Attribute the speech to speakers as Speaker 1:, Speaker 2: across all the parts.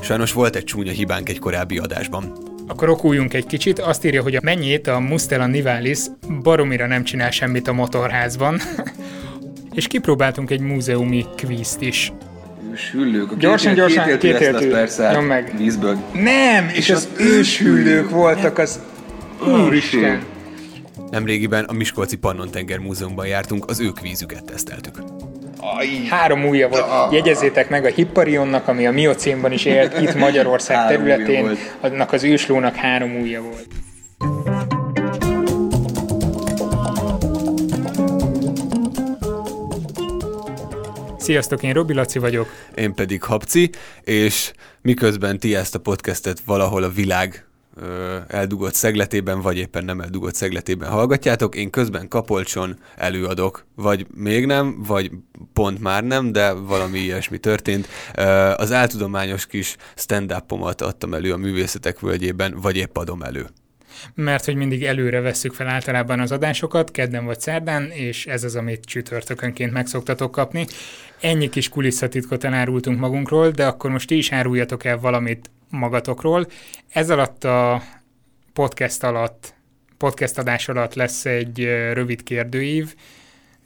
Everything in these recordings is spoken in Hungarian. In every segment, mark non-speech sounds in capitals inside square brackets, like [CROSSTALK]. Speaker 1: Sajnos volt egy csúnya hibánk egy korábbi adásban.
Speaker 2: Akkor okuljunk egy kicsit, azt írja, hogy a mennyét a Mustela Nivalis baromira nem csinál semmit a motorházban. [LAUGHS] és kipróbáltunk egy múzeumi kvízt is.
Speaker 3: Hüllők. A
Speaker 2: Gyorsan,
Speaker 3: kétéltű-
Speaker 2: gyorsan,
Speaker 3: kétéltű lesz
Speaker 2: kétéltű.
Speaker 3: az persze. hát
Speaker 2: Nyomd meg.
Speaker 3: Vízből.
Speaker 2: Nem, és, az őshüllők voltak az... Úristen!
Speaker 1: Nemrégiben a Miskolci Pannontenger Múzeumban jártunk, az ők vízüket teszteltük.
Speaker 2: Három újja volt. Jegyezzétek meg a Hipparionnak, ami a miocénban is élt itt Magyarország
Speaker 3: Három újja
Speaker 2: területén,
Speaker 3: volt.
Speaker 2: annak az őslónak három újja volt. Sziasztok, én Robi Laci vagyok.
Speaker 1: Én pedig Habci, és miközben ti ezt a podcastet valahol a világ ö, eldugott szegletében, vagy éppen nem eldugott szegletében hallgatjátok, én közben kapolcson előadok, vagy még nem, vagy pont már nem, de valami ilyesmi történt. Ö, Az áltudományos kis stand adtam elő a művészetek völgyében, vagy épp adom elő.
Speaker 2: Mert hogy mindig előre vesszük fel általában az adásokat, kedden vagy szerdán, és ez az, amit csütörtökönként megszoktatok kapni. Ennyi kis kulisszatitkot elárultunk magunkról, de akkor most ti is áruljatok el valamit magatokról. Ez alatt a podcast alatt, podcast adás alatt lesz egy ö, rövid kérdőív.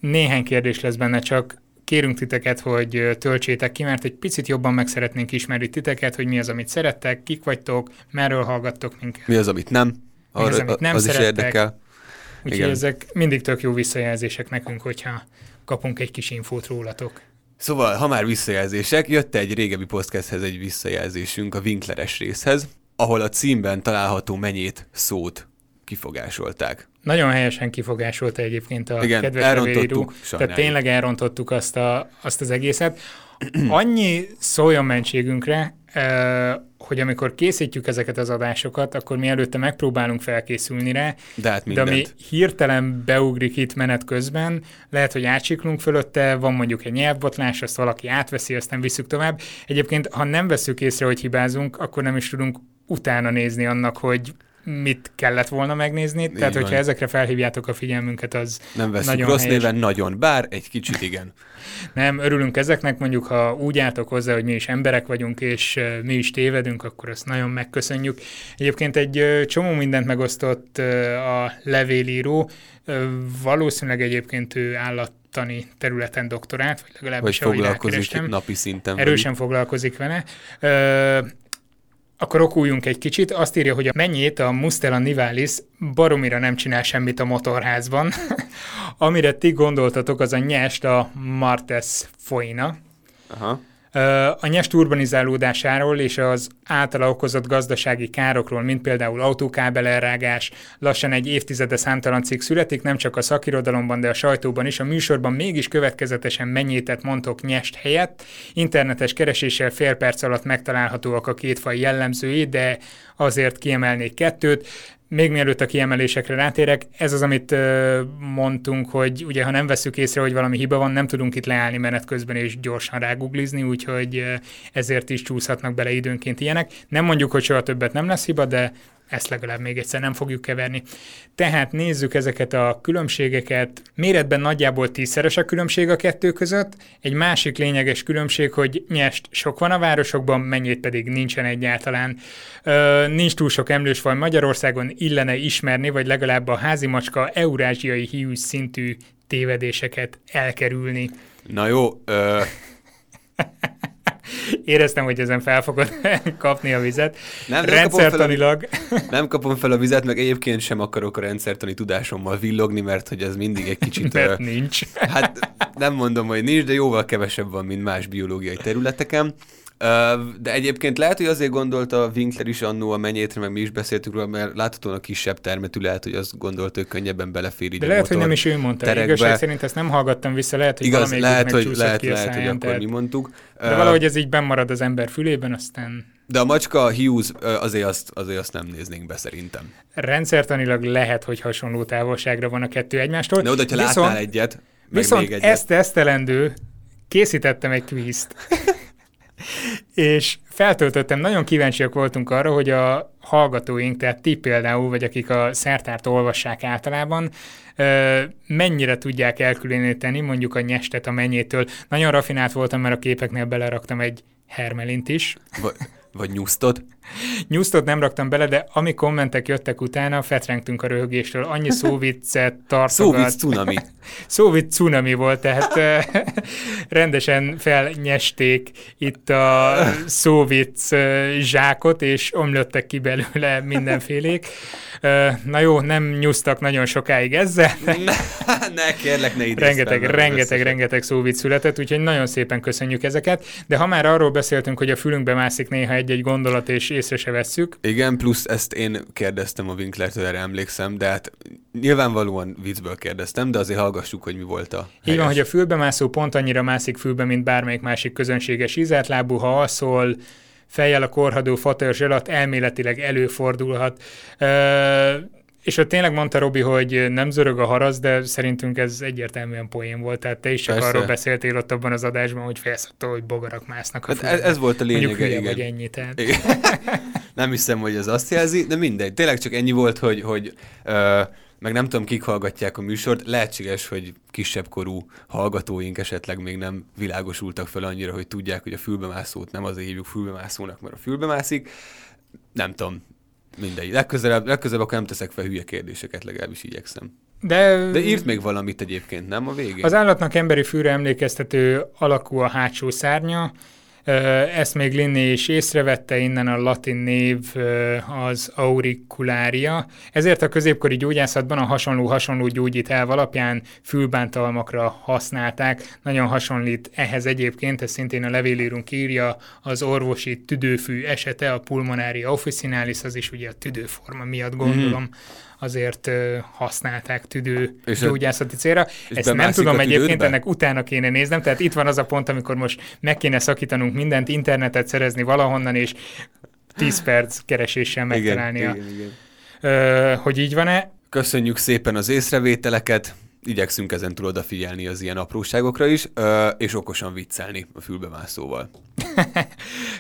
Speaker 2: Néhány kérdés lesz benne csak, kérünk titeket, hogy ö, töltsétek ki, mert egy picit jobban meg szeretnénk ismerni titeket, hogy mi az, amit szerettek, kik vagytok, merről hallgattok minket.
Speaker 1: Mi az, amit nem?
Speaker 2: az, amit nem
Speaker 1: az is
Speaker 2: szerettek?
Speaker 1: érdekel.
Speaker 2: Úgyhogy
Speaker 1: Igen.
Speaker 2: ezek mindig tök jó visszajelzések nekünk, hogyha kapunk egy kis infót rólatok.
Speaker 1: Szóval, ha már visszajelzések, jött egy régebbi podcasthez egy visszajelzésünk a Winkleres részhez, ahol a címben található menyét szót kifogásolták.
Speaker 2: Nagyon helyesen kifogásolta egyébként a
Speaker 1: Igen,
Speaker 2: kedves
Speaker 1: elrontottuk,
Speaker 2: levélíró. Tehát
Speaker 1: sajnáljuk.
Speaker 2: tényleg elrontottuk azt, a, azt az egészet. [CLEARS THROAT] Annyi szóljon mentségünkre, eh, hogy amikor készítjük ezeket az adásokat, akkor mi előtte megpróbálunk felkészülni rá,
Speaker 1: De hát
Speaker 2: de
Speaker 1: mindent.
Speaker 2: ami hirtelen beugrik itt menet közben, lehet, hogy átsiklunk fölötte, van mondjuk egy nyelvbotlás, azt valaki átveszi, aztán visszük tovább. Egyébként, ha nem veszük észre, hogy hibázunk, akkor nem is tudunk utána nézni annak, hogy mit kellett volna megnézni. Így Tehát,
Speaker 1: van.
Speaker 2: hogyha ezekre felhívjátok a figyelmünket, az
Speaker 1: Nem veszünk
Speaker 2: nagyon
Speaker 1: rossz
Speaker 2: helyes.
Speaker 1: néven, nagyon, bár egy kicsit igen.
Speaker 2: nem, örülünk ezeknek, mondjuk ha úgy álltok hozzá, hogy mi is emberek vagyunk, és ö, mi is tévedünk, akkor azt nagyon megköszönjük. Egyébként egy ö, csomó mindent megosztott ö, a levélíró, Ö, valószínűleg egyébként ő állattani területen doktorát, vagy
Speaker 1: Hogy
Speaker 2: legalábbis ahogy
Speaker 1: foglalkozik
Speaker 2: rákerestem.
Speaker 1: napi szinten.
Speaker 2: Erősen foglalkozik vele. Ö, akkor okuljunk egy kicsit. Azt írja, hogy a mennyét a Mustela Nivalis baromira nem csinál semmit a motorházban. [LAUGHS] Amire ti gondoltatok, az a nyest a Martes folyna.
Speaker 1: velük. Aha.
Speaker 2: Ö, A nyest urbanizálódásáról és az általa okozott gazdasági károkról, mint például autókábel elrágás, lassan egy évtizede számtalan cikk születik, nem csak a szakirodalomban, de a sajtóban is. A műsorban mégis következetesen mennyétet mondtok nyest helyett. Internetes kereséssel fél perc alatt megtalálhatóak a két faj jellemzői, de azért kiemelnék kettőt. Még mielőtt a kiemelésekre rátérek, ez az, amit ö, mondtunk, hogy ugye ha nem veszük észre, hogy valami hiba van, nem tudunk itt leállni menet közben és gyorsan ráguglizni, úgyhogy ö, ezért is csúszhatnak bele időnként ilyenek. Nem mondjuk, hogy soha többet nem lesz hiba, de ezt legalább még egyszer nem fogjuk keverni. Tehát nézzük ezeket a különbségeket. Méretben nagyjából tízszeres a különbség a kettő között. Egy másik lényeges különbség, hogy nyest sok van a városokban, mennyit pedig nincsen egyáltalán. Ö, nincs túl sok emlősfaj Magyarországon, illene ismerni, vagy legalább a házimacska eurázsiai hiú szintű tévedéseket elkerülni.
Speaker 1: Na jó, ö,
Speaker 2: [LAUGHS] Éreztem, hogy ezen fel fogod [LAUGHS] kapni a vizet.
Speaker 1: Nem, nem kapom fel a-
Speaker 2: Rendszertanilag.
Speaker 1: [LAUGHS] nem kapom fel a vizet, meg egyébként sem akarok a rendszertani tudásommal villogni, mert hogy ez mindig egy kicsit... ö,
Speaker 2: [LAUGHS] Mert nincs.
Speaker 1: Hát nem mondom, hogy nincs, de jóval kevesebb van, mint más biológiai területeken. Ö, De egyébként lehet, hogy azért gondolta Winkler is annó a menyétre, meg mi is beszéltünk róla, mert láthatóan a kisebb termetű lehet, hogy azt gondolta, hogy könnyebben belefér így
Speaker 2: De
Speaker 1: a
Speaker 2: lehet, hogy
Speaker 1: motor
Speaker 2: nem is ő mondta.
Speaker 1: terekbe.
Speaker 2: Igazság szerint ezt nem hallgattam vissza, lehet, hogy
Speaker 1: Igaz,
Speaker 2: valamelyikük
Speaker 1: lehet, hogy,
Speaker 2: megcsúszott
Speaker 1: lehet,
Speaker 2: ki a
Speaker 1: lehet, hogy
Speaker 2: száján,
Speaker 1: akkor
Speaker 2: tehát-
Speaker 1: mi mondtuk.
Speaker 2: De
Speaker 1: Ö,
Speaker 2: valahogy ez így bemarad az ember fülében, aztán
Speaker 1: de a macska, a Hughes, ö, azért azt, azért azt nem néznénk be szerintem.
Speaker 2: rendszertanilag lehet, hogy hasonló távolságra van a kettő egymástól.
Speaker 1: De oda, hogyha látnál egyet, meg
Speaker 2: viszont
Speaker 1: még egyet.
Speaker 2: ezt tesztelendő, készítettem egy kvízt. és feltöltöttem, nagyon kíváncsiak voltunk arra, hogy a hallgatóink, tehát ti például, vagy akik a szertárt olvassák általában, mennyire tudják elkülöníteni mondjuk a nyestet a mennyétől. Nagyon rafinált voltam, mert a képeknél beleraktam egy hermelint is.
Speaker 1: Vagy, vagy nyúztod?
Speaker 2: Nyúztot nem raktam bele, de ami kommentek jöttek utána, fetrengtünk a röhögéstől. Annyi szóviccet tartogat.
Speaker 1: Szóvic
Speaker 2: [LAUGHS]
Speaker 1: cunami.
Speaker 2: Szóvic cunami volt, tehát [LAUGHS] rendesen felnyesték itt a szóvic zsákot, és omlöttek ki belőle mindenfélék. Na jó, nem nyúztak nagyon sokáig ezzel.
Speaker 1: Ne, ne kérlek, ne idézz fel,
Speaker 2: Rengeteg,
Speaker 1: mert
Speaker 2: rengeteg,
Speaker 1: összesen.
Speaker 2: rengeteg szóvic született, úgyhogy nagyon szépen köszönjük ezeket. De ha már arról beszéltünk, hogy a fülünkbe mászik néha egy-egy gondolat, és észre se vesszük,
Speaker 1: Igen, plusz ezt én kérdeztem a Winklertől, erre emlékszem, de hát nyilvánvalóan viccből kérdeztem, de azért hallgassuk, hogy mi volt a
Speaker 2: Így
Speaker 1: helyes.
Speaker 2: van, hogy a fülbe mászó pont annyira mászik fülbe, mint bármelyik másik közönséges ízeltlábú, ha alszol, fejjel a korhadó fatörzs alatt elméletileg előfordulhat. Ö, és ott tényleg mondta Robi, hogy nem zörög a harasz, de szerintünk ez egyértelműen poén volt. Tehát te is csak
Speaker 1: Persze.
Speaker 2: Persze. arról beszéltél ott abban az adásban, hogy félsz attól, hogy bogarak másznak a
Speaker 1: Hát
Speaker 2: fülbe.
Speaker 1: ez, ez volt a lényege,
Speaker 2: Mondjuk hülye
Speaker 1: igen.
Speaker 2: vagy ennyi, tehát.
Speaker 1: Igen. nem hiszem, hogy ez azt jelzi, de mindegy. Tényleg csak ennyi volt, hogy, hogy ö, meg nem tudom, kik hallgatják a műsort. Lehetséges, hogy kisebb korú hallgatóink esetleg még nem világosultak fel annyira, hogy tudják, hogy a fülbemászót nem azért hívjuk fülbemászónak, mert a fülbemászik. Nem tudom. Mindegy. Legközelebb, legközelebb akkor nem teszek fel hülye kérdéseket, legalábbis igyekszem.
Speaker 2: De,
Speaker 1: De írt még valamit egyébként, nem a végén?
Speaker 2: Az állatnak emberi fűre emlékeztető alakú a hátsó szárnya, Ö, ezt még Linné is észrevette, innen a latin név ö, az auricularia. Ezért a középkori gyógyászatban a hasonló-hasonló gyógyítelv alapján fülbántalmakra használták. Nagyon hasonlít ehhez egyébként, ez szintén a levélírunk írja, az orvosi tüdőfű esete, a pulmonária officinalis, az is ugye a tüdőforma
Speaker 1: Mhm.
Speaker 2: miatt gondolom. azért ö, használták tüdő
Speaker 1: És a-
Speaker 2: gyógyászati célra.
Speaker 1: És
Speaker 2: Ezt nem
Speaker 1: bemászik
Speaker 2: tudom
Speaker 1: a
Speaker 2: egyébként,
Speaker 1: tüdődbe?
Speaker 2: ennek utána kéne néznem, tehát itt van az a pont, amikor most meg kéne szakítanunk mindent, internetet szerezni valahonnan, és 10 perc kereséssel
Speaker 1: igen,
Speaker 2: megtalálni, a,
Speaker 1: igen, igen.
Speaker 2: ö, hogy így van-e.
Speaker 1: Köszönjük szépen az észrevételeket, igyekszünk ezen túl odafigyelni az ilyen apróságokra is, ö, és okosan viccelni a fülbemászóval.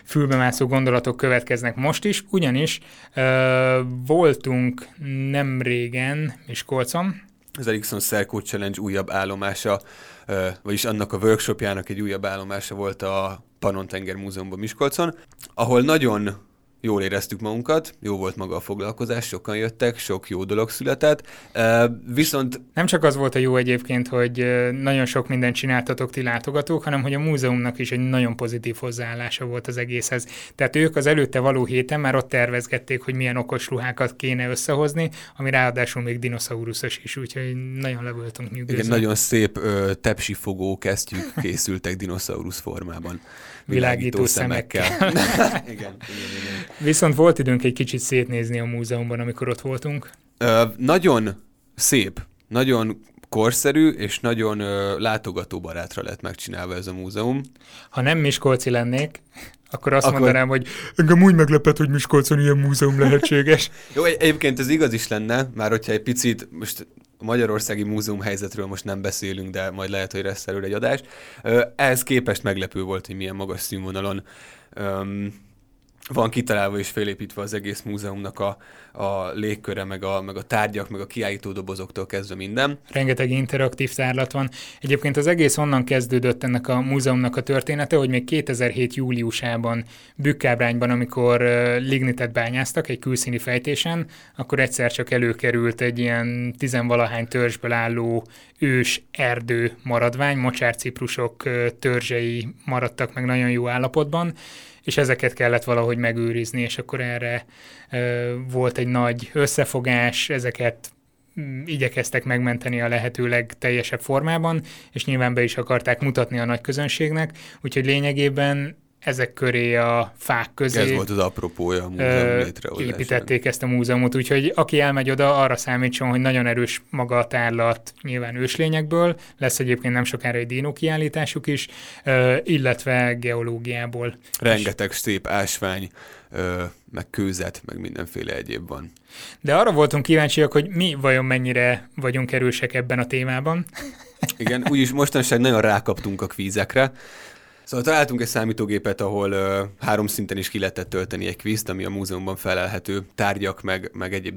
Speaker 2: Fülbemászó gondolatok következnek most is, ugyanis ö, voltunk nem régen Miskolcon,
Speaker 1: Az Ericsson Szerkó Challenge újabb állomása, ö, vagyis annak a workshopjának egy újabb állomása volt a Panontenger Múzeumban Miskolcon, ahol nagyon jól éreztük magunkat, jó volt maga a foglalkozás, sokan jöttek, sok jó dolog született, ö, viszont
Speaker 2: Nem csak az volt a jó egyébként, hogy ö, nagyon sok mindent csináltatok ti látogatók, hanem hogy a múzeumnak is egy nagyon pozitív hozzáállása volt az egészhez. Tehát ők az előtte való héten már ott tervezgették, hogy milyen okos ruhákat kéne összehozni, ami ráadásul még dinoszauruszos is, úgyhogy nagyon le voltunk nyugodni.
Speaker 1: igen, nagyon szép ö, tepsi fogó [LAUGHS] kesztyűk készültek dinoszaurusz formában.
Speaker 2: Világító
Speaker 1: szemekkel. [LAUGHS] igen, igen, igen.
Speaker 2: Viszont volt időnk egy kicsit szétnézni a múzeumban, amikor ott voltunk.
Speaker 1: Ö, nagyon szép, nagyon korszerű és nagyon ö, látogatóbarátra lett megcsinálva ez a múzeum.
Speaker 2: Ha nem Miskolci lennék, akkor azt
Speaker 1: Akkor-
Speaker 2: akkor... mondanám, hogy engem úgy meglepett, hogy Miskolcon ilyen múzeum lehetséges.
Speaker 1: Jó, egy- egyébként ez igaz is lenne, már hogyha egy picit most a magyarországi múzeum helyzetről most nem beszélünk, de majd lehet, hogy lesz erről egy adás. Ö, ehhez képest meglepő volt, hogy milyen magas színvonalon öm, van kitalálva és félépítve az egész múzeumnak a, a légköre, meg a, meg a tárgyak, meg a kiállító dobozoktól kezdve minden.
Speaker 2: rengeteg interaktív tárlat van. Egyébként az egész onnan kezdődött ennek a múzeumnak a története, hogy még 2007. júliusában Bükkábrányban, amikor ö, lignitet bányáztak egy külszíni fejtésen, akkor egyszer csak előkerült egy ilyen tizenvalahány törzsből álló ős erdő maradvány, mocsárciprusok ö, törzsei maradtak meg nagyon jó állapotban, és ezeket kellett valahogy megőrizni, és akkor erre ö, volt egy nagy összefogás, ezeket mm, igyekeztek megmenteni a lehető legteljesebb formában, és nyilván be is akarták mutatni a nagy közönségnek, úgyhogy lényegében ezek köré a fák közé
Speaker 1: Ez volt az apropója a múzeum
Speaker 2: ö,
Speaker 1: létrehozásának.
Speaker 2: építették ezt a múzeumot, úgyhogy aki elmegy oda, arra számítson, hogy nagyon erős maga a tárlat nyilván őslényekből, lesz egyébként nem sokára egy dínó kiállításuk is, ö, illetve geológiából.
Speaker 1: Rengeteg szép ásvány, ö, meg kőzet, meg mindenféle egyéb van.
Speaker 2: De arra voltunk kíváncsiak, hogy mi vajon mennyire vagyunk erősek ebben a témában.
Speaker 1: Igen, úgyis mostanság nagyon rákaptunk a kvízekre. Szóval találtunk egy számítógépet, ahol ö, három szinten is ki lehetett tölteni egy kvízt, ami a múzeumban felelhető tárgyak, meg, meg egyéb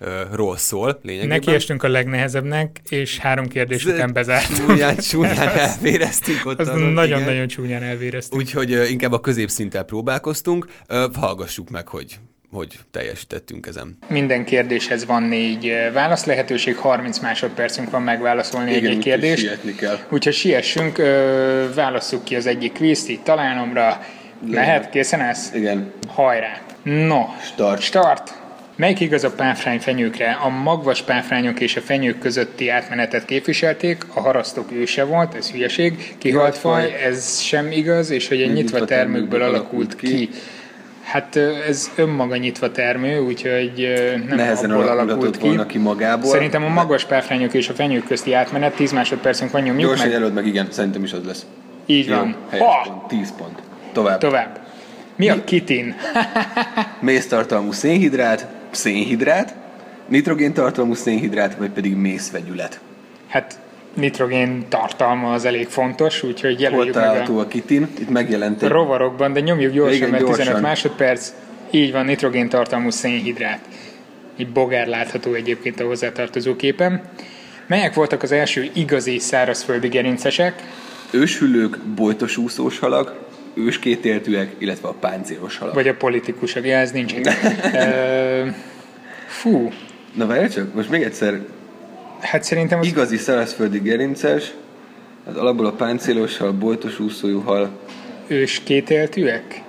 Speaker 1: dolgokról szól lényegében.
Speaker 2: Nekiestünk a legnehezebbnek, és három kérdés
Speaker 1: Ez-
Speaker 2: után bezártunk.
Speaker 1: Csúnyán, csúnyán elvéreztünk ott.
Speaker 2: [LAUGHS] Az
Speaker 1: arról, igen.
Speaker 2: nagyon-nagyon csúnyán elvéreztünk.
Speaker 1: Úgyhogy ö, inkább a középszinttel próbálkoztunk. Ö, Hallgassuk meg, hogy hogy teljesítettünk ezen.
Speaker 2: Minden kérdéshez van négy eh, válasz lehetőség, 30 másodpercünk van megválaszolni
Speaker 3: Igen,
Speaker 2: egy-egy
Speaker 3: úgyhogy
Speaker 2: kérdést.
Speaker 3: sietni kell.
Speaker 2: Úgyhogy siessünk, ö, válasszuk ki az egyik kvízt, így találomra. Lehet, készen állsz?
Speaker 3: Igen.
Speaker 2: Hajrá! No,
Speaker 3: Start.
Speaker 2: start. Melyik igaz a páfrány fenyőkre? A magvas páfrányok és a fenyők közötti átmenetet képviselték, a harasztok őse volt, ez hülyeség, kihalt faj, ez sem igaz, és hogy a nyitva termőkből alakult ki. Hát ö, ez önmaga nyitva termő, úgyhogy ö, nem
Speaker 3: Nehezen
Speaker 2: abból
Speaker 3: alakult
Speaker 2: alakult ki.
Speaker 3: volna ki magából.
Speaker 2: Szerintem a magas páfrányok és a fenyők közti átmenet, 10 másodpercünk van, nyomjuk
Speaker 3: Gyorsan
Speaker 2: meg.
Speaker 3: jelöld meg, igen, szerintem is az lesz.
Speaker 2: Így
Speaker 3: Jó,
Speaker 2: van.
Speaker 3: helyes
Speaker 2: Ha!
Speaker 3: pont, 10 pont. Tovább.
Speaker 2: Tovább. Mi a kitin?
Speaker 3: Méztartalmú szénhidrát, szénhidrát, nitrogéntartalmú szénhidrát, vagy pedig mészvegyület.
Speaker 2: Hát nitrogén tartalma az elég fontos, úgyhogy
Speaker 3: Hol
Speaker 2: jelöljük meg
Speaker 3: található
Speaker 2: a
Speaker 3: a kitin? Itt megjelent egy...
Speaker 2: rovarokban, de nyomjuk gyorsan,
Speaker 3: Igen,
Speaker 2: mert 15
Speaker 3: gyorsan.
Speaker 2: másodperc. Így van, nitrogén tartalmú szénhidrát. Egy bogár látható egyébként a hozzátartozó képen. Melyek voltak az első igazi szárazföldi gerincesek?
Speaker 3: Őshüllők, bolytos úszós halak, őskétéltűek, illetve a páncélos halak.
Speaker 2: Vagy a politikusok? Ja, ez nincs.
Speaker 3: [LAUGHS]
Speaker 2: itt. Ö, Fú,
Speaker 3: Na várj csak, most még egyszer
Speaker 2: hát szerintem az
Speaker 3: Igazi szárazföldi gerinces, az alapból a páncélos hal, bojtos úszójú hal,
Speaker 2: ős kétéltűek?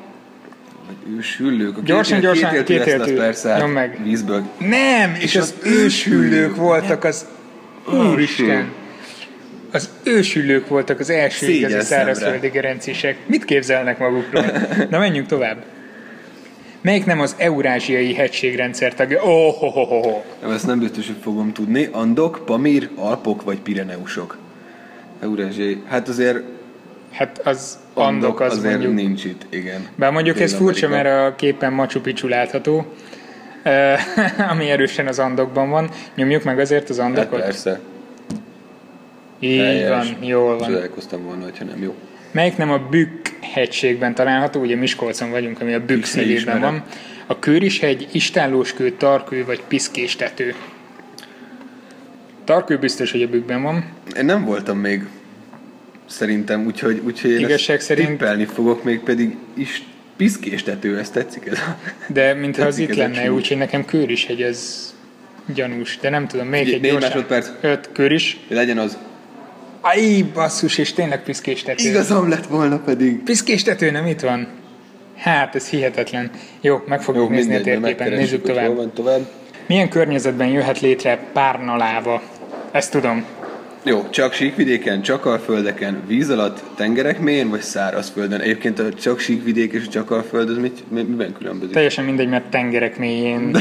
Speaker 3: vagy őshüllők. A
Speaker 2: Gyorsan, gyorsan,
Speaker 3: kétéltű lesz,
Speaker 2: kétéltű.
Speaker 3: az persze hát
Speaker 2: Nyomd meg.
Speaker 3: vízből.
Speaker 2: Nem, és, az, őshüllők voltak az... Úristen! Az ősülők voltak az első
Speaker 3: Szégyen
Speaker 2: igazi
Speaker 3: szemre.
Speaker 2: szárazföldi gerencisek. Mit képzelnek magukról? Na menjünk tovább. Melyik nem az eurázsiai hegységrendszer tagja? Oh, ho, ho, ho, ho.
Speaker 3: Nem, ezt nem biztos, hogy fogom tudni. Andok, Pamír, Alpok vagy Pireneusok. Eurázsiai. Hát azért
Speaker 2: Hát az andok, az
Speaker 3: azért
Speaker 2: mondjuk.
Speaker 3: nincs itt, igen.
Speaker 2: Bár mondjuk ez furcsa, mert a képen Machu Picchu látható, Ö, [LAUGHS] ami erősen az andokban van. Nyomjuk meg azért az
Speaker 3: Hát
Speaker 2: andokot.
Speaker 3: persze.
Speaker 2: Így
Speaker 3: Teljes.
Speaker 2: van, jól van.
Speaker 3: Csodálkoztam volna, hogyha nem jó.
Speaker 2: Melyik nem a Bükk hegységben található, ugye Miskolcon vagyunk, ami a Bükk
Speaker 3: Bükk
Speaker 2: szegében
Speaker 3: ismerem.
Speaker 2: van. A Kőrishegy, Istállóskő, Tarkő vagy Piszkéstető. Tarkő biztos, hogy a Bükkben van.
Speaker 3: Én nem voltam még szerintem, úgyhogy, úgyhogy én
Speaker 2: Igazság
Speaker 3: ezt
Speaker 2: szerint-
Speaker 3: tippelni fogok, még pedig is piszkéstető, ez tetszik ez a... [LAUGHS]
Speaker 2: De mintha az
Speaker 3: Tetszik
Speaker 2: itt
Speaker 3: ez a
Speaker 2: lenne,
Speaker 3: csúcs.
Speaker 2: úgyhogy nekem Kőrishegy ez gyanús. De nem tudom, még
Speaker 3: Ugye,
Speaker 2: egy
Speaker 3: négy
Speaker 2: gyorsan.
Speaker 3: másodperc.
Speaker 2: Öt Kőris.
Speaker 3: Legyen az.
Speaker 2: Aj, basszus, és tényleg Piszkéstető.
Speaker 3: Igazam lett volna pedig.
Speaker 2: Piszkéstető nem itt van. Hát, ez hihetetlen. Jó, meg fogjuk
Speaker 3: Jó,
Speaker 2: nézni
Speaker 3: mindegy,
Speaker 2: a
Speaker 3: majd
Speaker 2: térképen. Nézzük
Speaker 3: megkeressük, hogy
Speaker 2: tovább.
Speaker 3: Hol van tovább.
Speaker 2: Milyen környezetben jöhet létre párnaláva? Ezt tudom.
Speaker 3: Jó, csak síkvidéken, csak alföldeken, víz alatt, tengerek mélyén, vagy szárazföldön? Egyébként a csak síkvidék és a csak alföld, az mit, mi- miben különbözik?
Speaker 2: Teljesen mindegy, mert tengerek mélyén,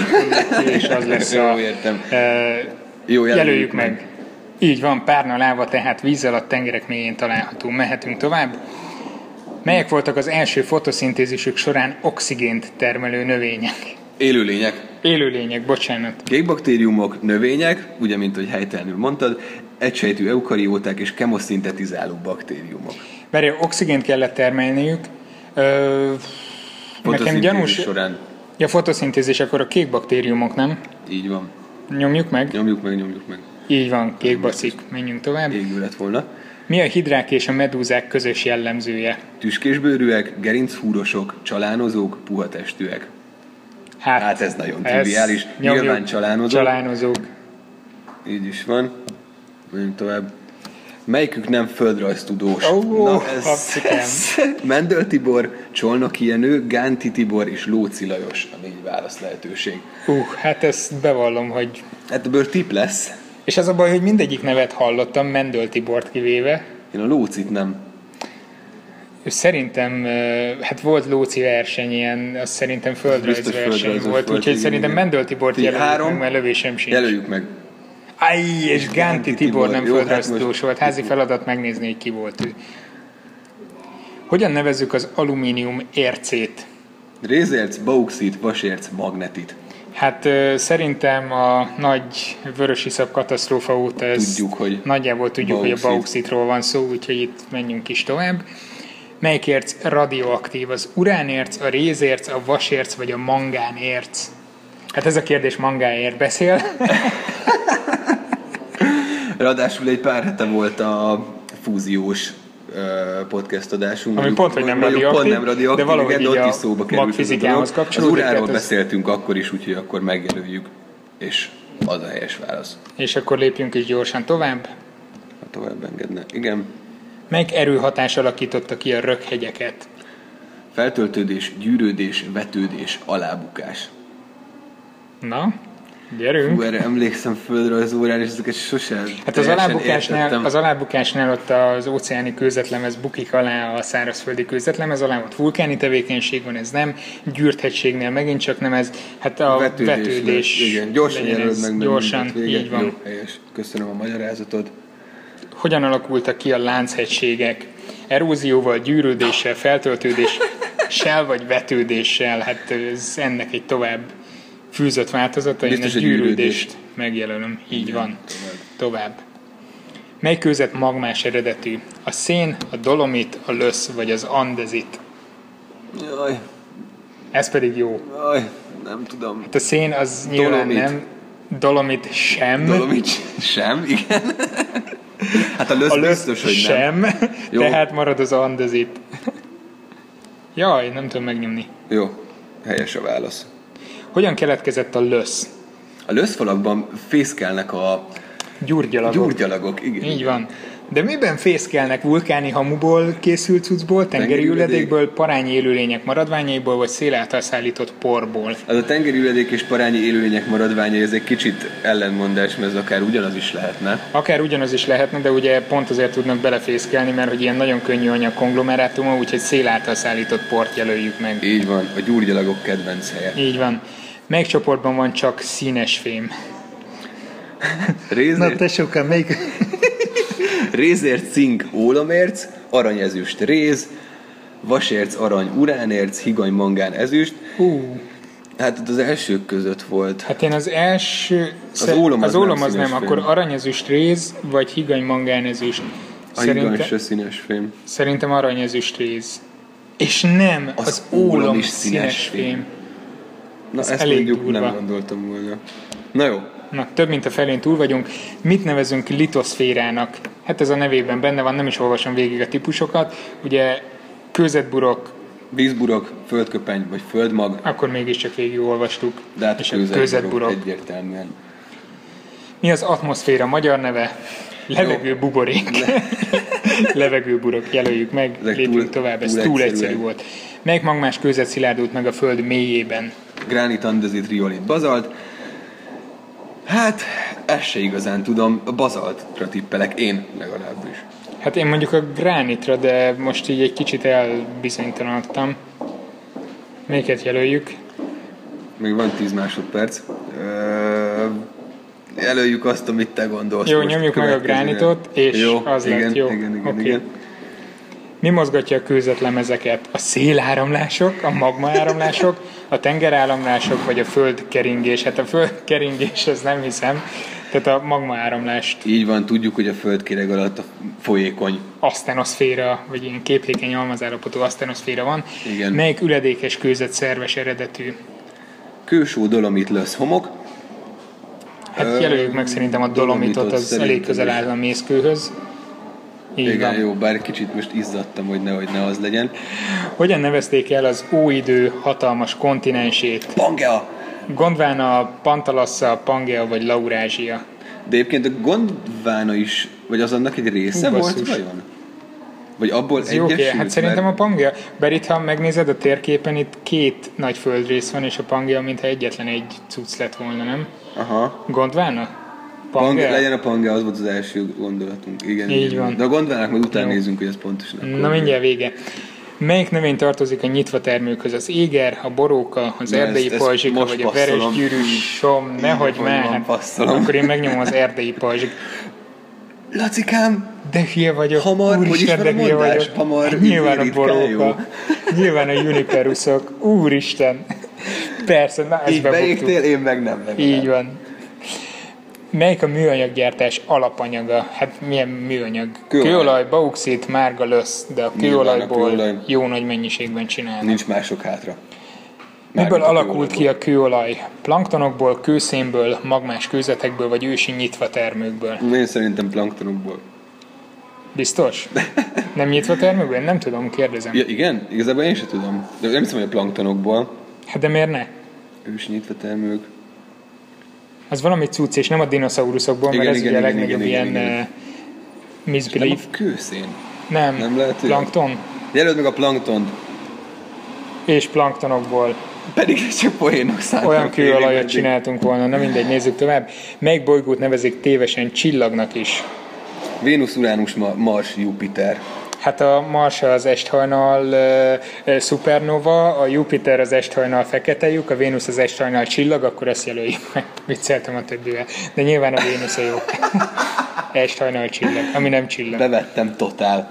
Speaker 2: és az lesz a...
Speaker 3: [LAUGHS] Jó, értem.
Speaker 2: Ö,
Speaker 3: Jó,
Speaker 2: jelöljük meg. Így van, párnaláva, tehát víz alatt tengerek mélyén található. Mehetünk tovább. Melyek voltak az első fotoszintézisük során oxigént termelő növények?
Speaker 3: Élőlények.
Speaker 2: Élőlények, bocsánat.
Speaker 3: Gékbaktériumok, növények, ugye, mint hogy helytelenül mondtad, egysejtű eukarióták és kemoszintetizáló baktériumok.
Speaker 2: Mert oxigént kellett termelniük. Ö, nekem
Speaker 3: Fotoszintézis
Speaker 2: gyanús...
Speaker 3: során.
Speaker 2: Ja, fotoszintézis, akkor a kék baktériumok, nem?
Speaker 3: Így van.
Speaker 2: Nyomjuk meg?
Speaker 3: Nyomjuk meg, nyomjuk meg.
Speaker 2: Így van, kék baszik. Menjünk tovább.
Speaker 3: Égő lett volna.
Speaker 2: Mi a hidrák és a medúzák közös jellemzője?
Speaker 3: Tüskésbőrűek, gerinchúrosok, csalánozók, puha testűek.
Speaker 2: Hát,
Speaker 3: Hát ez nagyon triviális.
Speaker 2: nyomjuk.
Speaker 3: Nyilván csalánozók.
Speaker 2: Csalánozók.
Speaker 3: Így is van. Menjünk tovább. Melyikük nem földrajztudós?
Speaker 2: Ó,
Speaker 3: Na ez,
Speaker 2: apszikám.
Speaker 3: ez. [LAUGHS] Mendel Tibor, Csolnoki Jenő, Gánti Tibor és Lóci Lajos a négy válasz lehetőség.
Speaker 2: Uh, hát ezt bevallom, hogy...
Speaker 3: Hát ebből tip lesz.
Speaker 2: És az a baj, hogy mindegyik nevet hallottam, Mendöl Tibort kivéve.
Speaker 3: Én a Lócit nem.
Speaker 2: Ő Szerintem, ö, hát volt Lóci verseny, ilyen, az szerintem földrajz
Speaker 3: Biztos
Speaker 2: verseny
Speaker 3: földrajzos
Speaker 2: volt,
Speaker 3: volt,
Speaker 2: úgyhogy
Speaker 3: igen,
Speaker 2: szerintem
Speaker 3: igen.
Speaker 2: Mendöl Tibort
Speaker 3: Ti
Speaker 2: jelöljük
Speaker 3: három.
Speaker 2: meg, mert lövésem sincs.
Speaker 3: Jelöljük meg.
Speaker 2: Aj, és Gánti
Speaker 3: Gánti
Speaker 2: Tibor
Speaker 3: Tibor,
Speaker 2: nem
Speaker 3: jó, hát
Speaker 2: földrajztudós
Speaker 3: most-
Speaker 2: volt. Házi feladat megnézni, hogy ki volt ő. Hogyan nevezzük az alumínium ércét?
Speaker 3: Rézérc, bauxit, vasérc, magnetit.
Speaker 2: Hát ö, szerintem a nagy vörös iszap katasztrófa óta ez
Speaker 3: Tudjuk, hogy
Speaker 2: nagyjából tudjuk,
Speaker 3: bauxit.
Speaker 2: hogy a bauxitról van szó, úgyhogy itt menjünk is tovább. Melyikért radioaktív? Az uránérc, a rézérc, a vasérc vagy a mangánérc? Hát ez a kérdés mangáért beszél. [LAUGHS]
Speaker 3: Ráadásul egy pár hete volt a fúziós ö, podcast adásunk.
Speaker 2: Ami
Speaker 3: Mondjuk-
Speaker 2: pont, hogy nem
Speaker 3: mondjuk
Speaker 2: radioaktív,
Speaker 3: Pont nem radioaktív,
Speaker 2: de valahogy
Speaker 3: igen,
Speaker 2: így
Speaker 3: ott
Speaker 2: a
Speaker 3: is szóba került. ez a
Speaker 2: magfizikához
Speaker 3: dolog. Az
Speaker 2: kapcsolódik,
Speaker 3: uráról
Speaker 2: tehát ez-
Speaker 3: beszéltünk akkor is, úgyhogy akkor megjelöljük, és az a helyes válasz,
Speaker 2: És akkor lépjünk is gyorsan tovább.
Speaker 3: ha tovább engedne. Igen.
Speaker 2: Melyik erőhatás alakította ki a röghegyeket?
Speaker 3: Feltöltődés, gyűrődés, vetődés, alábukás.
Speaker 2: Na, gyerünk!
Speaker 3: Hú, erre emlékszem földrajz órán, és ezeket sose
Speaker 2: Hát az
Speaker 3: teljesen
Speaker 2: alábukásnál,
Speaker 3: értettem.
Speaker 2: az alábukásnál ott az óceáni kőzetlemez bukik alá a szárazföldi kőzetlemez alá, ott vulkáni tevékenység van, ez nem, gyűrthegységnél megint csak nem ez, hát a vetődés, vetődés
Speaker 3: lesz. Igen, gyorsan
Speaker 2: legyen
Speaker 3: jelöld
Speaker 2: ez.
Speaker 3: meg. meg
Speaker 2: Gyorsan,
Speaker 3: mindent véget.
Speaker 2: így van.
Speaker 3: Jó, helyes. Köszönöm a magyarázatot.
Speaker 2: Hogyan alakultak ki a lánchegységek? Erózióval, gyűrődéssel, feltöltődéssel vagy vetődéssel? Hát ez ennek egy tovább fűzött változata. Én a
Speaker 3: Biztos, hogy
Speaker 2: gyűrődést megjelölöm. Így van. Tovább. Mely kőzet magmás eredetű? A szén, a dolomit, a lösz vagy az andezit?
Speaker 3: Jaj,
Speaker 2: Ez pedig jó.
Speaker 3: jaj, nem tudom.
Speaker 2: Hát a szén az nyilván
Speaker 3: Dolomit.
Speaker 2: nem, dolomit sem.
Speaker 3: Dolomics sem, igen.
Speaker 2: [LAUGHS]
Speaker 3: Hát a lösz,
Speaker 2: A lösz
Speaker 3: biztos, hogy nem.
Speaker 2: sem,
Speaker 3: [LAUGHS] Jó.
Speaker 2: tehát marad az andezit. Jaj, nem tudom megnyomni.
Speaker 3: Jó, helyes a válasz.
Speaker 2: Hogyan keletkezett a lösz?
Speaker 3: A löszfalakban fészkelnek a
Speaker 2: Gyurgyalagok.
Speaker 3: gyurgyalagok, igen.
Speaker 2: Így van. De miben fészkelnek vulkáni hamuból készült cuccból, tengeri
Speaker 3: Tengeri üledék.
Speaker 2: üledékből, parányi élőlények maradványaiból, vagy szél által szállított porból?
Speaker 3: Az a tengeri üledék és parányi élőlények maradványai, ez egy kicsit ellenmondás, mert ez akár ugyanaz is lehetne.
Speaker 2: Akár ugyanaz is lehetne, de ugye pont azért tudnak belefészkelni, mert hogy ilyen nagyon könnyű anyag konglomerátuma, úgyhogy szél által szállított port jelöljük meg.
Speaker 3: Így van, a gyurgyalagok kedvenc helye.
Speaker 2: Így van. Melyik csoportban van csak színes fém?
Speaker 3: Rézért,
Speaker 2: sokan, melyik...
Speaker 3: rézért cink ólamérc, aranyezüst réz, vasérc arany uránérc, higany mangán ezüst.
Speaker 2: Hú,
Speaker 3: Hát ott az elsők között volt.
Speaker 2: Hát én az első...
Speaker 3: Az ólom az
Speaker 2: az, ólom
Speaker 3: nem
Speaker 2: az nem,
Speaker 3: színes
Speaker 2: akkor
Speaker 3: film.
Speaker 2: aranyezüst réz, vagy higany mangánezüst.
Speaker 3: A higany
Speaker 2: Szerinte,
Speaker 3: se színes fém.
Speaker 2: szerintem aranyezüst réz. És nem, az, ólom is színes
Speaker 3: fém.
Speaker 2: fém.
Speaker 3: Na
Speaker 2: Ez
Speaker 3: ezt
Speaker 2: elég
Speaker 3: mondjuk nem
Speaker 2: durva.
Speaker 3: gondoltam volna. Na jó,
Speaker 2: Na, több mint a felén túl vagyunk. Mit nevezünk litoszférának? Hát ez a nevében benne van, nem is olvasom végig a típusokat. Ugye kőzetburok,
Speaker 3: vízburok, földköpeny vagy földmag,
Speaker 2: akkor mégiscsak végigolvastuk.
Speaker 3: de hát
Speaker 2: és
Speaker 3: a
Speaker 2: a
Speaker 3: kőzetburok
Speaker 2: kőzetburok.
Speaker 3: egyértelműen.
Speaker 2: Mi az atmoszféra magyar neve? Levegő buborék. [LAUGHS] Levegőburok, jelöljük meg,
Speaker 3: Ezek
Speaker 2: lépjünk
Speaker 3: túl-
Speaker 2: tovább, ez
Speaker 3: túl
Speaker 2: túl, túl egyszerű
Speaker 3: egyszerűek.
Speaker 2: volt. Melyik magmás kőzet szilárdult meg a föld mélyében?
Speaker 3: Gránit, andezit, riolit, bazalt. Hát, ezt se igazán tudom, a bazaltra tippelek én legalábbis.
Speaker 2: Hát én mondjuk a gránitra, de most így egy kicsit elbizonytalanodtam. Melyiket jelöljük?
Speaker 3: Még van 10 másodperc. Ö, jelöljük azt, amit te gondolsz.
Speaker 2: Jó,
Speaker 3: most
Speaker 2: nyomjuk meg a
Speaker 3: következőre.
Speaker 2: gránitot, és az
Speaker 3: igen,
Speaker 2: lett jó.
Speaker 3: Igen, igen,
Speaker 2: Oké.
Speaker 3: igen.
Speaker 2: Mi mozgatja a kőzetlemezeket? A széláramlások, a magmaáramlások, a tengeráramlások, vagy a földkeringés? Hát a földkeringés, ez nem hiszem. Tehát a magmaáramlást,
Speaker 3: Így van, tudjuk, hogy a földkéreg alatt a folyékony
Speaker 2: asztenoszféra, vagy ilyen képlékeny almazállapotú asztenoszféra van.
Speaker 3: Igen.
Speaker 2: Melyik üledékes kőzet szerves eredetű?
Speaker 3: kősó dolomit lesz homok, Ö,
Speaker 2: Hát jelöljük meg szerintem a dolomitot,
Speaker 3: dolomitot
Speaker 2: az elég
Speaker 3: szerintem
Speaker 2: közel
Speaker 3: is.
Speaker 2: áll a mészkőhöz. Így
Speaker 3: Igen,
Speaker 2: van.
Speaker 3: jó, bár kicsit most izzadtam, hogy nehogy ne az legyen.
Speaker 2: Hogyan nevezték el az óidő hatalmas kontinensét?
Speaker 3: Pangea!
Speaker 2: Gondván a Pantalassa, Pangea vagy Laurázsia?
Speaker 3: De egyébként a Gondvána is, vagy az annak egy része
Speaker 2: Hú,
Speaker 3: volt
Speaker 2: basszus.
Speaker 3: vajon? Vagy abból
Speaker 2: Ez jó,
Speaker 3: egyesült?
Speaker 2: ké- hát szerintem
Speaker 3: mert
Speaker 2: a Pangea, bár itt ha megnézed a térképen, itt két nagy földrész van, és a Pangea mintha egyetlen egy cucc lett volna, nem?
Speaker 3: Aha.
Speaker 2: Gondvána?
Speaker 3: Pangea?
Speaker 2: Pangea?
Speaker 3: Legyen a Pangea, az volt az első gondolatunk. Igen.
Speaker 2: Így
Speaker 3: igen.
Speaker 2: van.
Speaker 3: De a Gondvának majd utána
Speaker 2: Jó.
Speaker 3: nézünk, hogy ez pontosan akkor
Speaker 2: Na mindjárt vége. Melyik növény tartozik a nyitva termőkhöz? Az éger, a boróka, az
Speaker 3: Na,
Speaker 2: erdei
Speaker 3: ezt- ezt
Speaker 2: pajzsika,
Speaker 3: most
Speaker 2: vagy a veres
Speaker 3: passzolom.
Speaker 2: gyűrűs som? Nehogy
Speaker 3: hogy
Speaker 2: már.
Speaker 3: van,
Speaker 2: hát
Speaker 3: passzolom.
Speaker 2: Akkor én megnyomom az erdei pajzsik.
Speaker 3: Lacikám!
Speaker 2: De hülye vagyok.
Speaker 3: Hamar, hogy
Speaker 2: Úristen,
Speaker 3: ismer
Speaker 2: de
Speaker 3: a
Speaker 2: hülye
Speaker 3: mondás?
Speaker 2: vagyok. Hát
Speaker 3: Hamar, így
Speaker 2: Nyilván a
Speaker 3: ritkán jó.
Speaker 2: boróka. Nyilván a juniperusok. Úristen. Persze, na ezt
Speaker 3: Így
Speaker 2: bebuktuk.
Speaker 3: beégtél, én meg nem. legalább.
Speaker 2: Így van. Melyik a műanyaggyártás alapanyaga? Hát milyen műanyag? Kőolaj,
Speaker 3: Kőolaj.
Speaker 2: Kőolaj bauxit, márga lösz, de a
Speaker 3: Nyilván a
Speaker 2: kőolajból
Speaker 3: kőolaj.
Speaker 2: jó nagy mennyiségben csinálnak.
Speaker 3: Nincs mások hátra.
Speaker 2: Miből
Speaker 3: Mármint a
Speaker 2: alakult ki a kőolaj? Planktonokból, kőszénből, magmás kőzetekből vagy ősi nyitva termőkből?
Speaker 3: kőolajból. Én szerintem planktonokból. [LAUGHS]
Speaker 2: Biztos? Nem nyitva termőkből? Nem tudom, kérdezem.
Speaker 3: Ja, igen? Igazából én sem tudom. De nem hiszem, hogy a planktonokból.
Speaker 2: Hát de miért ne?
Speaker 3: Ős nyitva termők.
Speaker 2: Az valami cucc, és nem a dinoszauruszokból, mert
Speaker 3: Igen,
Speaker 2: ez
Speaker 3: igen,
Speaker 2: ugye a
Speaker 3: igen,
Speaker 2: legnagyobb
Speaker 3: igen,
Speaker 2: ilyen
Speaker 3: igen, igen.
Speaker 2: eh,
Speaker 3: Nem
Speaker 2: misbelief.
Speaker 3: a kőszén.
Speaker 2: Nem,
Speaker 3: nem lehet, hogy-
Speaker 2: plankton
Speaker 3: Jelöld meg a planktont.
Speaker 2: és planktonokból.
Speaker 3: Pedig ez csak poénok szántam.
Speaker 2: Olyan kőolajat
Speaker 3: Eddig.
Speaker 2: csináltunk volna, na mindegy, nézzük tovább. Melyik bolygót nevezik tévesen csillagnak is?
Speaker 3: Vénusz, Uránus, Ma- Mars, Jupiter.
Speaker 2: Hát a Mars az esthajnal ö, ö, szupernova, a Jupiter az esthajnal fekete lyuk, a Vénusz az esthajnal csillag, akkor ezt jelöljük meg. [LAUGHS] Vicceltem a többivel. De nyilván a Vénusz a jó. [LAUGHS] esthajnal csillag, ami nem csillag.
Speaker 3: Bevettem totál.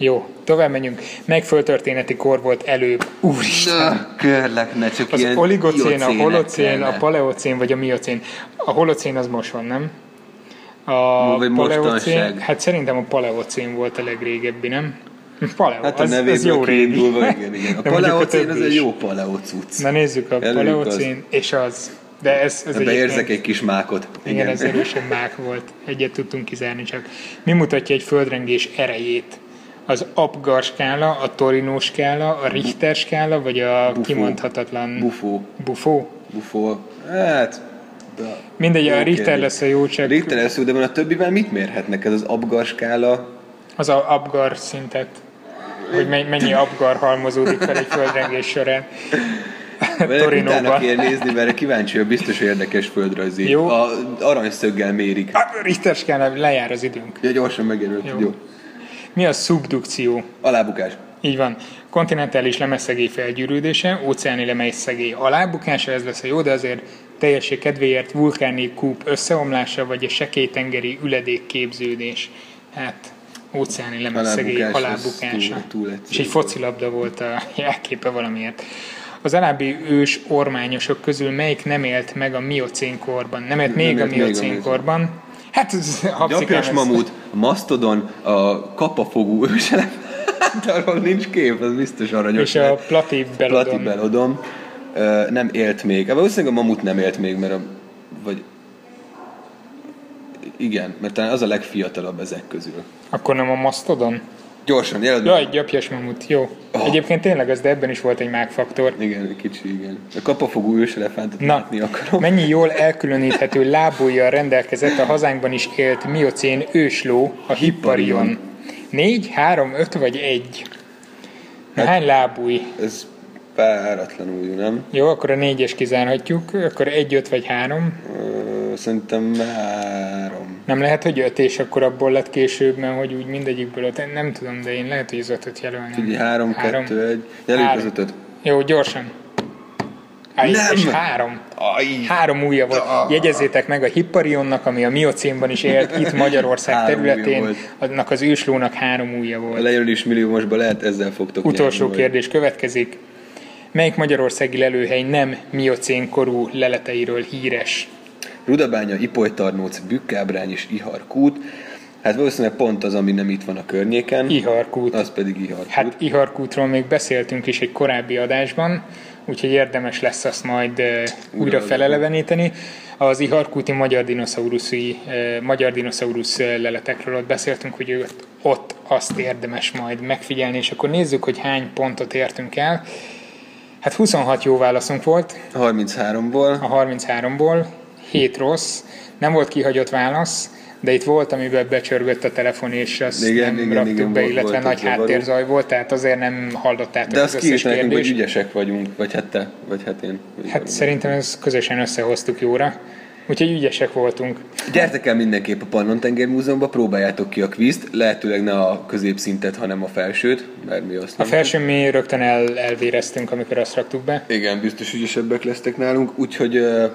Speaker 2: Jó, tovább menjünk. Melyik földtörténeti kor volt előbb? Úristen!
Speaker 3: Na, körlek, ne csak
Speaker 2: Az
Speaker 3: ilyen
Speaker 2: oligocén, a
Speaker 3: diocének
Speaker 2: holocén, a
Speaker 3: kellene.
Speaker 2: paleocén vagy a miocén. A holocén az most van, nem? A
Speaker 3: Vagy mostanság.
Speaker 2: paleocén, hát szerintem a paleocén volt a legrégebbi, nem? Paleo,
Speaker 3: Hát a
Speaker 2: az,
Speaker 3: nevéből
Speaker 2: az jó régi.
Speaker 3: kiindulva, igen,
Speaker 2: [LAUGHS]
Speaker 3: igen. A
Speaker 2: De mondjuk
Speaker 3: paleocén az
Speaker 2: többi
Speaker 3: egy
Speaker 2: is.
Speaker 3: jó paleo cucc.
Speaker 2: Na nézzük a
Speaker 3: Előjük az.
Speaker 2: paleocén és az. De ez, ez
Speaker 3: Ebbe
Speaker 2: egyébként-
Speaker 3: érzek egy kis mákot.
Speaker 2: Igen, ez erősen mák volt. Egyet tudtunk kizárni csak. Mi mutatja egy földrengés erejét? Az Apgar skála, a Torino skála, a Richter skála, vagy a
Speaker 3: Buffo.
Speaker 2: kimondhatatlan...
Speaker 3: Bufó.
Speaker 2: Buffo?
Speaker 3: Bufó. Hát... De.
Speaker 2: Mindegy, a
Speaker 3: Jó
Speaker 2: Richter
Speaker 3: kérdés.
Speaker 2: lesz a jó, csak
Speaker 3: Richter lesz, de van a többivel mit mérhetnek? Ez az abgarskála?
Speaker 2: az a Apgar szintet, hogy men- mennyi Apgar halmozódik fel egy földrengés során.
Speaker 3: Utána
Speaker 2: Hát Torinóban.
Speaker 3: kell nézni, mert kíváncsi, hogy biztos érdekes földrajzi.
Speaker 2: Jó.
Speaker 3: A aranyszöggel mérik.
Speaker 2: A Richter skálán lejár az időnk.
Speaker 3: Ja, gyorsan megérült. Jó.
Speaker 2: Jó.
Speaker 3: Jó.
Speaker 2: Mi a szubdukció?
Speaker 3: Alábukás.
Speaker 2: Így van. Kontinentális lemeszegély felgyűrűdése, óceáni lemeszegély alábukása, ez lesz a jó, de azért teljesség kedvéért vulkáni kúp összeomlása, vagy a sekélytengeri üledék képződés. Hát, óceáni lemeszegély
Speaker 3: Alábukás, az
Speaker 2: alábukása.
Speaker 3: túl- túl egyszerű.
Speaker 2: És egy focilabda volt a [LAUGHS] jelképe valamiért. Az alábbi ős ormányosok közül melyik nem élt meg a miocén korban? Nem élt
Speaker 3: Nem
Speaker 2: még a
Speaker 3: élt még a
Speaker 2: miocén korban? Hát, ez hapszikám,
Speaker 3: Gyapjas
Speaker 2: ez-
Speaker 3: mamut, a mastodon, a kapafogú őselefánt, arról nincs kép, az biztos aranyos.
Speaker 2: És a
Speaker 3: lett.
Speaker 2: platív belodon.
Speaker 3: Platibelodon ö, nem élt még. Hát Valószínűleg a mamut nem élt még, mert a, vagy igen, mert talán az a legfiatalabb ezek közül.
Speaker 2: Akkor nem a mastodon?
Speaker 3: Gyorsan, jelöld
Speaker 2: Ja,
Speaker 3: meg.
Speaker 2: egy gyapjas mamut, jó. Egyébként tényleg az, de ebben is volt egy mágfaktor.
Speaker 3: Igen, kicsi, igen. A kapafogú őselefántot
Speaker 2: Na,
Speaker 3: látni akarom.
Speaker 2: mennyi jól elkülöníthető lábújjal rendelkezett a hazánkban is élt miocén ősló, a hipparion? Négy, három, öt vagy egy? Na,
Speaker 3: Hát-
Speaker 2: hány lábúj?
Speaker 3: Ez páratlanul, jó, nem?
Speaker 2: Jó, akkor a négyes kizárhatjuk, akkor egy, öt vagy három.
Speaker 3: Ö, szerintem három.
Speaker 2: Nem lehet, hogy öt, és akkor abból lett később, mert hogy úgy mindegyikből öt. Nem tudom, de én lehet, hogy az ötöt jelölném.
Speaker 3: Ugye három,
Speaker 2: Három.
Speaker 3: kettő, egy. Jelöljük az
Speaker 2: Három.
Speaker 3: ötöt.
Speaker 2: Jó, gyorsan. Aj,
Speaker 3: Nem!
Speaker 2: És három.
Speaker 3: Aj,
Speaker 2: Három újja volt. Jegyezzétek meg a Hipparionnak, ami a miocénban is élt,
Speaker 3: [LAUGHS]
Speaker 2: itt Magyarország
Speaker 3: Három ujja
Speaker 2: területén,
Speaker 3: volt.
Speaker 2: annak az őslónak három újja
Speaker 3: A
Speaker 2: volt.
Speaker 3: lejelölés milliómosba lehet, ezzel fogtok
Speaker 2: Utolsó
Speaker 3: nyerni, vagy-
Speaker 2: kérdés következik. Melyik magyarországi lelőhely nem miocén korú leleteiről híres?
Speaker 3: Rudabánya, Ipolytarnóc, Bükkábrány és Iharkút. Hát valószínűleg pont az, ami nem itt van a környéken.
Speaker 2: Iharkút.
Speaker 3: Az pedig Iharkút.
Speaker 2: Hát Iharkútról még beszéltünk is egy korábbi adásban, úgyhogy érdemes lesz azt majd uh, újra feleleveníteni. Az Iharkúti magyar dinoszauruszi, uh, magyar dinoszaurusz ö, leletekről ott beszéltünk, hogy ott, ott azt érdemes majd megfigyelni, és akkor nézzük, hogy hány pontot értünk el. Hát 26 jó válaszunk volt,
Speaker 3: 33-ból.
Speaker 2: a 33-ból, 7 rossz, nem volt kihagyott válasz, de itt volt, amiben becsörgött a telefon, és azt
Speaker 3: Igen,
Speaker 2: nem
Speaker 3: igen,
Speaker 2: raktuk
Speaker 3: igen,
Speaker 2: be,
Speaker 3: volt-
Speaker 2: illetve
Speaker 3: volt
Speaker 2: nagy
Speaker 3: egy zavaró.
Speaker 2: háttérzaj volt, tehát azért nem hallottátok
Speaker 3: De
Speaker 2: az
Speaker 3: azt
Speaker 2: összes
Speaker 3: kiírta nekünk, hogy
Speaker 2: kérdést.
Speaker 3: ügyesek vagyunk, vagy hát te, vagy hát én. Vagy
Speaker 2: Hát szerintem ezt közösen összehoztuk jóra, úgyhogy ügyesek voltunk.
Speaker 3: Gyertek el mindenképp a Pannontenger Múzeumba, próbáljátok ki a kvízt, lehetőleg ne a középszintet, hanem a felsőt, mert mi azt
Speaker 2: A
Speaker 3: nem.
Speaker 2: felső mi rögtön el, elvéreztünk, amikor azt raktuk be.
Speaker 3: Igen, biztos ügyesebbek lesztek nálunk, úgyhogy ö,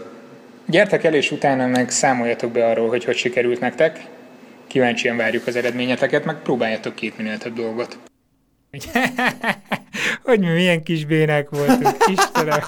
Speaker 2: Gyertek el, és utána meg számoljatok be arról, hogy hogy sikerült nektek. Kíváncsian várjuk az eredményeteket, meg próbáljatok két minél több dolgot. hogy mi milyen kis bének voltunk, Istenem.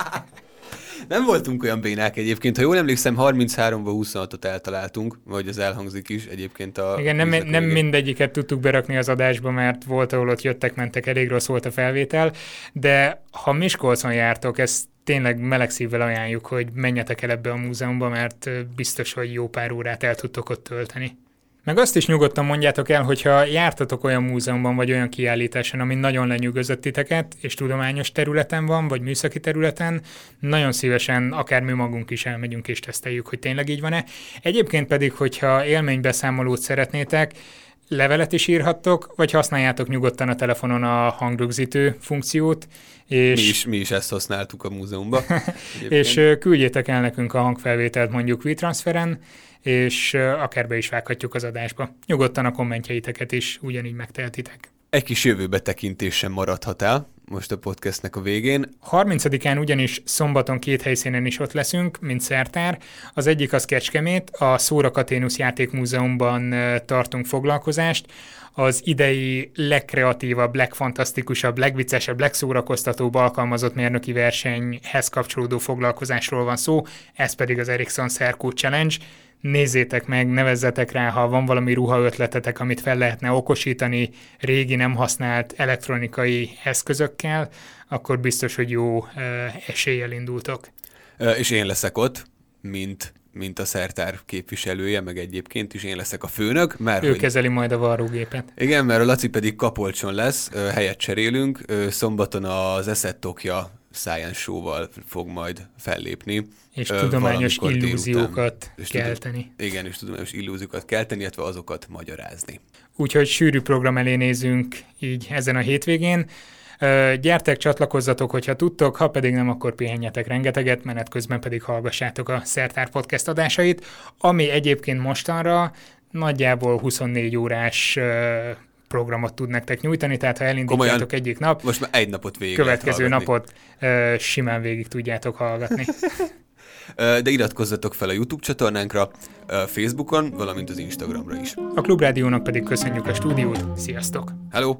Speaker 1: Nem voltunk olyan bénák egyébként. Ha jól emlékszem, 33-ba 26-ot eltaláltunk, vagy az elhangzik is egyébként a...
Speaker 2: Igen, nem,
Speaker 1: víznek a
Speaker 2: nem
Speaker 1: végén.
Speaker 2: mindegyiket tudtuk berakni az adásba, mert volt, ahol ott jöttek-mentek, elég rossz volt a felvétel, de ha Miskolcon jártok, ezt tényleg meleg szívvel ajánljuk, hogy menjetek el ebbe a múzeumba, mert ö, biztos, hogy jó pár órát el tudtok ott tölteni. Meg azt is nyugodtan mondjátok el, hogyha jártatok olyan múzeumban vagy olyan kiállításon, ami nagyon lenyűgözött titeket, és tudományos területen van, vagy műszaki területen, nagyon szívesen akár mi magunk is elmegyünk és teszteljük, hogy tényleg így van-e. Egyébként pedig, hogyha élménybeszámolót szeretnétek, levelet is írhattok, vagy használjátok nyugodtan a telefonon a hangrögzítő funkciót, és
Speaker 1: Mi is, mi is ezt használtuk a múzeumban.
Speaker 2: [LAUGHS] és
Speaker 1: egyébként.
Speaker 2: ö, küldjétek el nekünk a hangfelvételt mondjuk WeTransferen, és ö, akár be is vághatjuk az adásba. Nyugodtan a kommentjeiteket is ugyanígy megtehetitek.
Speaker 1: Egy kis jövőbe tekintés sem maradhat el most a podcastnek a végén.
Speaker 2: 30-án ugyanis szombaton két helyszínen is ott leszünk, mint szertár. Az egyik az Kecskemét, a Szóra Katénusz Játékmúzeumban ö, tartunk foglalkozást, az idei legkreatívabb, legfantasztikusabb, legviccesebb, legszórakoztatóbb alkalmazott mérnöki versenyhez kapcsolódó foglalkozásról van szó, ez pedig az Ericsson Serco Challenge. Nézzétek meg, nevezzetek rá, ha van valami ruha ötletetek, amit fel lehetne okosítani régi nem használt elektronikai eszközökkel, akkor biztos, hogy jó ö, eséllyel indultok.
Speaker 1: Ö, És én leszek ott, mint mint a szertár képviselője, meg egyébként is én leszek a főnök, mert
Speaker 2: Ő
Speaker 1: hogy
Speaker 2: kezeli majd a varrógépet.
Speaker 1: Igen, mert a Laci pedig kapolcson lesz, ö, helyet cserélünk, ö, szombaton az Eszett Tokja Science Show-val fog majd fellépni.
Speaker 2: És
Speaker 1: ö,
Speaker 2: tudományos
Speaker 1: valamikor délután.
Speaker 2: illúziókat
Speaker 1: És tudom-
Speaker 2: kelteni.
Speaker 1: Igen, és tudományos illúziókat kelteni, illetve azokat magyarázni.
Speaker 2: Úgyhogy sűrű program elé nézünk így ezen a hétvégén. Ö, Gyertek, csatlakozzatok, hogyha tudtok, ha pedig nem, akkor pihenjetek rengeteget, menet közben pedig hallgassátok a Szertár Podcast adásait, ami egyébként mostanra nagyjából 24 órás ö, programot tud nektek nyújtani, tehát ha elindítjátok
Speaker 1: Komolyan?
Speaker 2: egyik nap,
Speaker 1: Most már egy napot végig lehet
Speaker 2: következő
Speaker 1: hallgatni.
Speaker 2: napot ö, simán végig tudjátok hallgatni.
Speaker 1: Ö, De iratkozzatok fel a YouTube csatornánkra, ö, Facebookon, valamint az Instagramra is.
Speaker 2: A Klubrádiónak pedig köszönjük a stúdiót, sziasztok!
Speaker 1: Hello!